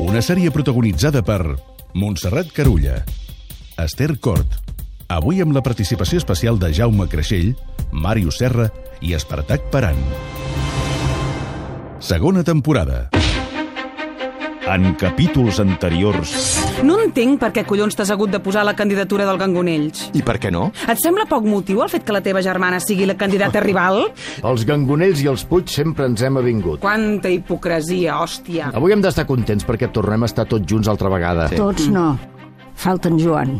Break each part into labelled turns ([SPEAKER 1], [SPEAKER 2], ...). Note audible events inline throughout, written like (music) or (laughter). [SPEAKER 1] Una sèrie protagonitzada per Montserrat Carulla, Esther Cort, avui amb la participació especial de Jaume Creixell, Màrius Serra i Espartac Paran. Segona temporada.
[SPEAKER 2] En capítols anteriors...
[SPEAKER 3] No entenc per què collons t'has hagut de posar la candidatura del Gangonells.
[SPEAKER 4] I per què no?
[SPEAKER 3] Et sembla poc motiu el fet que la teva germana sigui la candidata rival?
[SPEAKER 5] Els gangonells i els Puig sempre ens hem avingut.
[SPEAKER 3] Quanta hipocresia, hòstia.
[SPEAKER 5] Avui hem d'estar contents perquè tornem a estar tots junts altra vegada. Sí.
[SPEAKER 6] Tots no. Falta en Joan.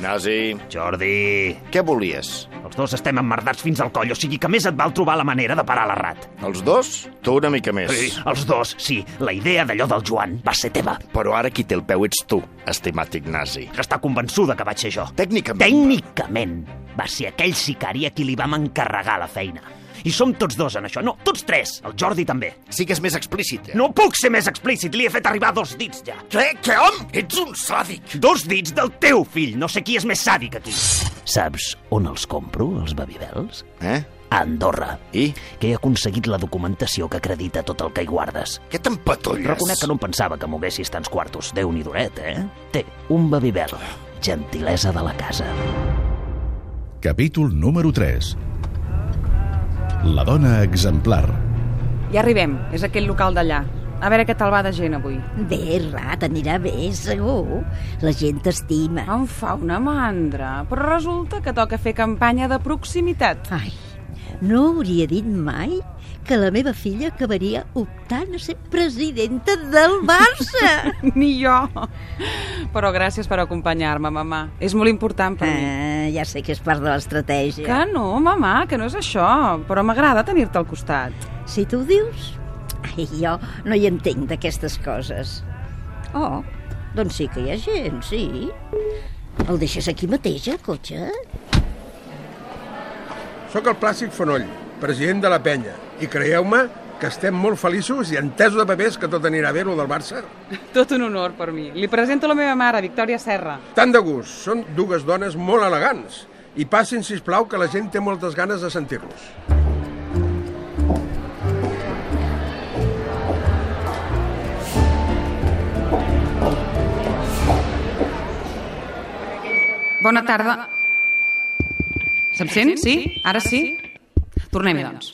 [SPEAKER 7] Nasi,
[SPEAKER 8] Jordi,
[SPEAKER 7] què volies?
[SPEAKER 8] els dos estem emmerdats fins al coll, o sigui que més et val trobar la manera de parar la rat.
[SPEAKER 7] Els dos? Tu una mica més.
[SPEAKER 8] Sí. Els dos, sí, la idea d'allò del Joan va ser teva.
[SPEAKER 7] Però ara qui té el peu ets tu, estimat Ignasi.
[SPEAKER 8] Que està convençuda que vaig ser jo.
[SPEAKER 7] Tècnicament.
[SPEAKER 8] Tècnicament. Va ser aquell sicari a qui li vam encarregar la feina. I som tots dos en això. No, tots tres. El Jordi també.
[SPEAKER 7] Sigues més explícit.
[SPEAKER 8] No puc ser més explícit. Li he fet arribar dos dits ja.
[SPEAKER 7] Què? Què, hom? Ets un sàdic.
[SPEAKER 8] Dos dits del teu fill. No sé qui és més sàdic aquí. Saps on els compro, els babibels?
[SPEAKER 7] Eh?
[SPEAKER 8] A Andorra.
[SPEAKER 7] I?
[SPEAKER 8] que he aconseguit la documentació que acredita tot el que hi guardes.
[SPEAKER 7] Què t'empatolles?
[SPEAKER 8] Reconec que no em pensava que moguessis tants quartos. déu nhi duret, eh? Té, un babibel. Gentilesa de la casa.
[SPEAKER 1] Capítol número 3. La dona exemplar.
[SPEAKER 3] Ja arribem, és aquell local d'allà. A veure què tal va de gent avui.
[SPEAKER 6] Bé, Rat, anirà bé, segur. La gent t'estima.
[SPEAKER 3] Em fa una mandra, però resulta que toca fer campanya de proximitat. (laughs)
[SPEAKER 6] Ai, no hauria dit mai que la meva filla acabaria optant a ser presidenta del (laughs) Barça.
[SPEAKER 3] Ni jo. Però gràcies per acompanyar-me, mamà. És molt important per mi.
[SPEAKER 6] ah, ja sé que és part de l'estratègia.
[SPEAKER 3] Que no, mamà, que no és això. Però m'agrada tenir-te al costat.
[SPEAKER 6] Si tu ho dius... Ai, jo no hi entenc d'aquestes coses. Oh, doncs sí que hi ha gent, sí. El deixes aquí mateix, eh, el cotxe?
[SPEAKER 9] Soc el Plàcid Fonoll, president de la penya, i creieu-me que estem molt feliços i entesos de papers que tot anirà bé, lo del Barça.
[SPEAKER 3] Tot un honor per mi. Li presento la meva mare, Victòria Serra.
[SPEAKER 9] Tant de gust, són dues dones molt elegants. I passin, si plau que la gent té moltes ganes de sentir-los.
[SPEAKER 3] Bona tarda. Se'm sent? Sí? Ara sí? Tornem-hi, doncs.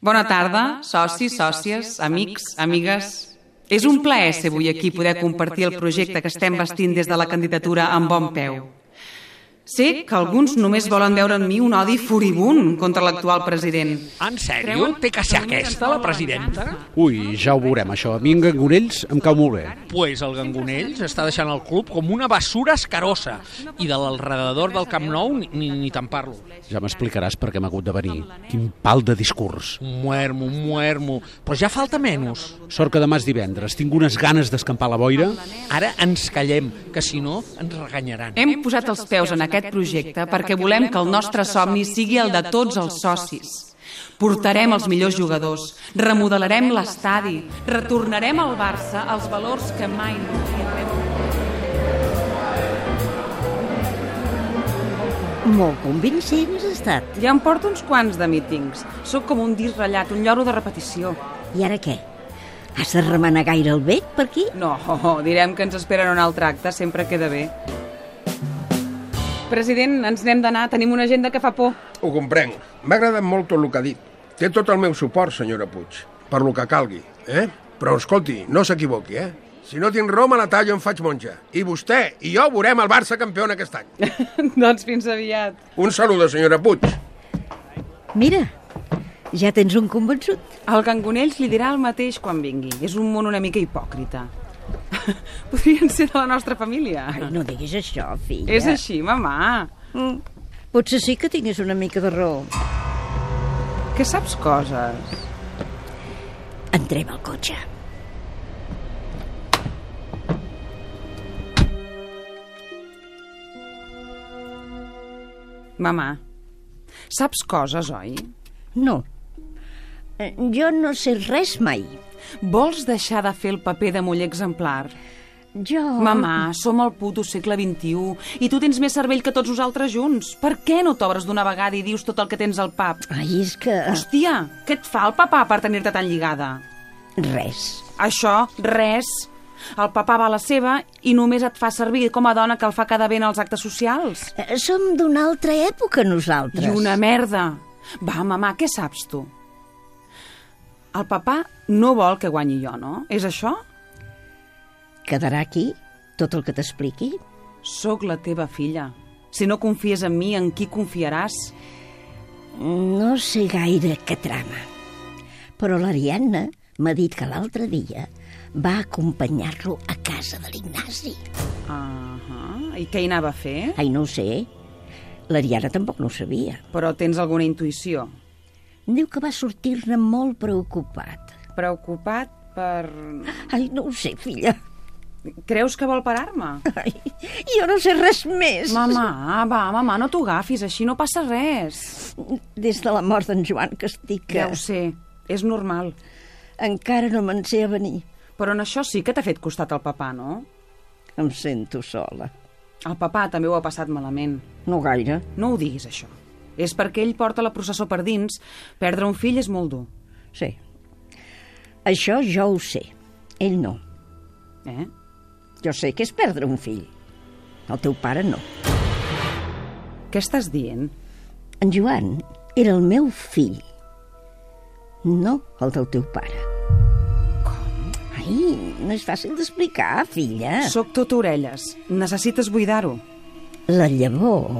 [SPEAKER 3] Bona tarda, socis, sòcies, amics, amigues. És un plaer ser avui aquí poder compartir el projecte que estem vestint des de la candidatura amb bon peu. Sé que alguns només volen veure en mi un odi furibund contra l'actual president.
[SPEAKER 10] En sèrio? Té que ser aquesta, la presidenta?
[SPEAKER 11] Ui, ja ho veurem, això. A mi en Gangonells em cau molt bé.
[SPEAKER 10] Pues el Gangonells està deixant el club com una bessura escarosa i de l'alrededor del Camp Nou ni, ni, ni te'n parlo.
[SPEAKER 11] Ja m'explicaràs per què m'ha hagut de venir. Quin pal de discurs.
[SPEAKER 10] Un muermo, un muermo, però ja falta menys.
[SPEAKER 11] Sort que demà és divendres. Tinc unes ganes d'escampar la boira.
[SPEAKER 10] Ara ens callem, que si no ens reganyaran.
[SPEAKER 3] Hem posat els peus en aquest projecte perquè volem que el nostre somni sigui el de tots els socis. Portarem els millors jugadors, remodelarem l'estadi, retornarem al Barça els valors que mai no havia
[SPEAKER 6] Molt convincent has estat.
[SPEAKER 3] Ja em porto uns quants de mítings. Sóc com un disc ratllat, un lloro de repetició.
[SPEAKER 6] I ara què? Has de remenar gaire el bec per aquí?
[SPEAKER 3] No, (laughs) oh, direm que ens esperen un altre acte, sempre queda bé. President, ens n'hem d'anar, tenim una agenda que fa por. (laughs)
[SPEAKER 9] Ho comprenc. M'ha agradat molt tot el que ha dit. Té tot el meu suport, senyora Puig, per lo que calgui, eh? Però, escolti, no s'equivoqui, eh? Si no tinc Roma, la tallo em faig monja. I vostè i jo veurem el Barça campió en aquest any.
[SPEAKER 3] doncs fins aviat.
[SPEAKER 9] Un saludo, senyora Puig.
[SPEAKER 6] Mira, ja tens un convençut.
[SPEAKER 3] El Gangonells li dirà el mateix quan vingui. És un món una mica hipòcrita. (laughs) Podrien ser de la nostra família.
[SPEAKER 6] Ai, no diguis això, filla.
[SPEAKER 3] És així, mamà.
[SPEAKER 6] Potser sí que tinguis una mica de raó.
[SPEAKER 3] Que saps coses.
[SPEAKER 6] Entrem al cotxe.
[SPEAKER 3] Mamà, saps coses, oi?
[SPEAKER 6] No. Eh, Jo no sé res mai.
[SPEAKER 3] Vols deixar de fer el paper de muller exemplar?
[SPEAKER 6] Jo...
[SPEAKER 3] Mamà, som al puto segle XXI i tu tens més cervell que tots nosaltres junts. Per què no t'obres d'una vegada i dius tot el que tens al pap?
[SPEAKER 6] Ai, és que...
[SPEAKER 3] Hòstia, què et fa el papà per tenir-te tan lligada?
[SPEAKER 6] Res.
[SPEAKER 3] Això, res. El papà va a la seva i només et fa servir com a dona que el fa quedar bé en els actes socials.
[SPEAKER 6] Eh, Som d'una altra època, nosaltres.
[SPEAKER 3] I una merda. Va, mamà, què saps tu? El papà no vol que guanyi jo, no? És això?
[SPEAKER 6] Quedarà aquí tot el que t'expliqui?
[SPEAKER 3] Sóc la teva filla. Si no confies en mi, en qui confiaràs?
[SPEAKER 6] No sé gaire què trama. Però l'Ariadna m'ha dit que l'altre dia va acompanyar-lo a casa de l'Ignasi.
[SPEAKER 3] Ah, ah. I què hi anava a fer?
[SPEAKER 6] Ai, no ho sé. L'Ariadna tampoc no ho sabia.
[SPEAKER 3] Però tens alguna intuïció?
[SPEAKER 6] Diu que va sortir-ne molt preocupat.
[SPEAKER 3] Preocupat per...
[SPEAKER 6] Ai, no ho sé, filla.
[SPEAKER 3] Creus que vol parar-me?
[SPEAKER 6] Ai, jo no sé res més.
[SPEAKER 3] Mamà, va, mamà, no t'ho agafis, així no passa res.
[SPEAKER 6] Des de la mort d'en Joan que estic...
[SPEAKER 3] Que...
[SPEAKER 6] Que
[SPEAKER 3] Ja ho sé, és normal.
[SPEAKER 6] Encara no me'n sé a venir.
[SPEAKER 3] Però en això sí que t'ha fet costat el papà, no?
[SPEAKER 6] Em sento sola.
[SPEAKER 3] El papà també ho ha passat malament.
[SPEAKER 6] No gaire.
[SPEAKER 3] No ho diguis, això. És perquè ell porta la processó per dins. Perdre un fill és molt dur,
[SPEAKER 6] Sí. Això jo ho sé. Ell no.
[SPEAKER 3] eh?
[SPEAKER 6] Jo sé que és perdre un fill. El teu pare no.
[SPEAKER 3] Què estàs dient?
[SPEAKER 6] En Joan era el meu fill. No el del teu pare. Com? Ai, no és fàcil d'explicar, filla.
[SPEAKER 3] Soc tot orelles. Necessites buidar-ho.
[SPEAKER 6] La llavor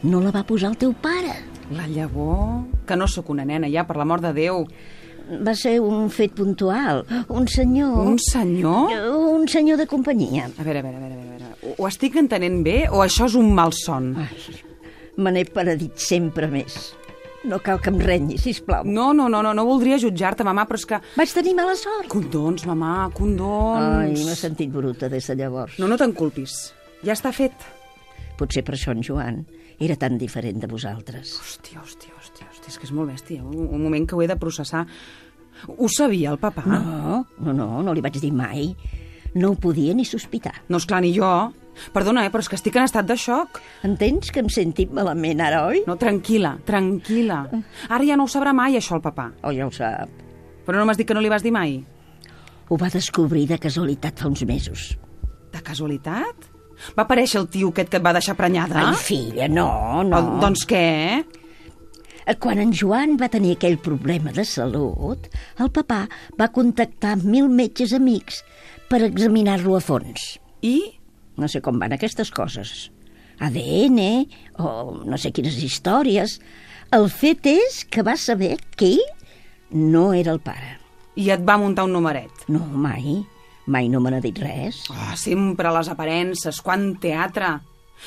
[SPEAKER 6] no la va posar el teu pare.
[SPEAKER 3] La llavor... Que no sóc una nena, ja, per l'amor de Déu.
[SPEAKER 6] Va ser un fet puntual. Un senyor...
[SPEAKER 3] Un senyor?
[SPEAKER 6] Un senyor de companyia.
[SPEAKER 3] A veure, a veure, a veure, a veure. Ho- Ho estic entenent bé o això és un malson?
[SPEAKER 6] Ah. Me n'he paradit sempre més. No cal que em renyi, sisplau.
[SPEAKER 3] No, no, no, no, no voldria jutjar-te, mamà, però és que...
[SPEAKER 6] Vaig tenir mala sort.
[SPEAKER 3] Condons, mamà,
[SPEAKER 6] Ai,
[SPEAKER 3] condons.
[SPEAKER 6] m'he sentit bruta des de llavors.
[SPEAKER 3] No, no te'n culpis. Ja està fet.
[SPEAKER 6] Potser per això en Joan era tan diferent de vosaltres.
[SPEAKER 3] Hòstia, hòstia, hòstia, hòstia, és que és molt bèstia. Un, un moment que ho he de processar. Ho sabia el papà?
[SPEAKER 6] No, no, no, no li vaig dir mai. No ho podia ni sospitar.
[SPEAKER 3] No, esclar, ni jo. Perdona, eh, però és que estic en estat de xoc.
[SPEAKER 6] Entens que em sentit malament ara, oi?
[SPEAKER 3] No, tranquil·la, tranquil·la. Ara ja no ho sabrà mai, això, el papà.
[SPEAKER 6] Oh, ja ho sap.
[SPEAKER 3] Però no m'has dit que no li vas dir mai?
[SPEAKER 6] Ho va descobrir de casualitat fa uns mesos.
[SPEAKER 3] De casualitat? Va aparèixer el tio aquest que et va deixar prenyada?
[SPEAKER 6] Ai, filla, no, no. Eh,
[SPEAKER 3] Oh, Ah? doncs què?
[SPEAKER 6] Quan en Joan va tenir aquell problema de salut, el papà va contactar mil metges amics per examinar-lo a fons.
[SPEAKER 3] I?
[SPEAKER 6] No sé com van aquestes coses. ADN o no sé quines històries. El fet és que va saber que ell no era el pare.
[SPEAKER 3] I et va muntar un numeret.
[SPEAKER 6] No, mai. Mai no me n'ha dit res.
[SPEAKER 3] Oh, sempre les aparences, quant teatre.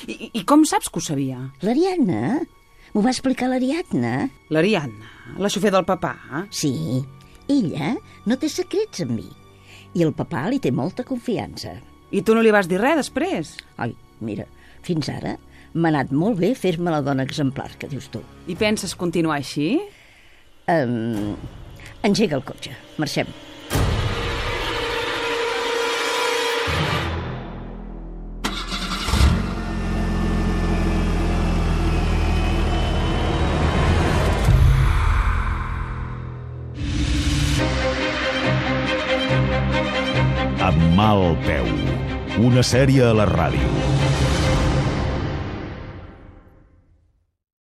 [SPEAKER 3] I, i- I com saps que ho sabia?
[SPEAKER 6] L'Ariadna? M'ho va explicar l'Ariadna?
[SPEAKER 3] L'Ariadna, la xofer del papà. eh?
[SPEAKER 6] Sí, ella no té secrets amb mi. I el papà li té molta confiança.
[SPEAKER 3] I tu no li vas dir res després?
[SPEAKER 6] Ai, mira, fins ara m'ha anat molt bé fer-me la dona exemplar, que dius tu.
[SPEAKER 3] I penses continuar així?
[SPEAKER 6] Um, engega el cotxe, marxem.
[SPEAKER 2] Amb mal peu. Una sèrie a la ràdio.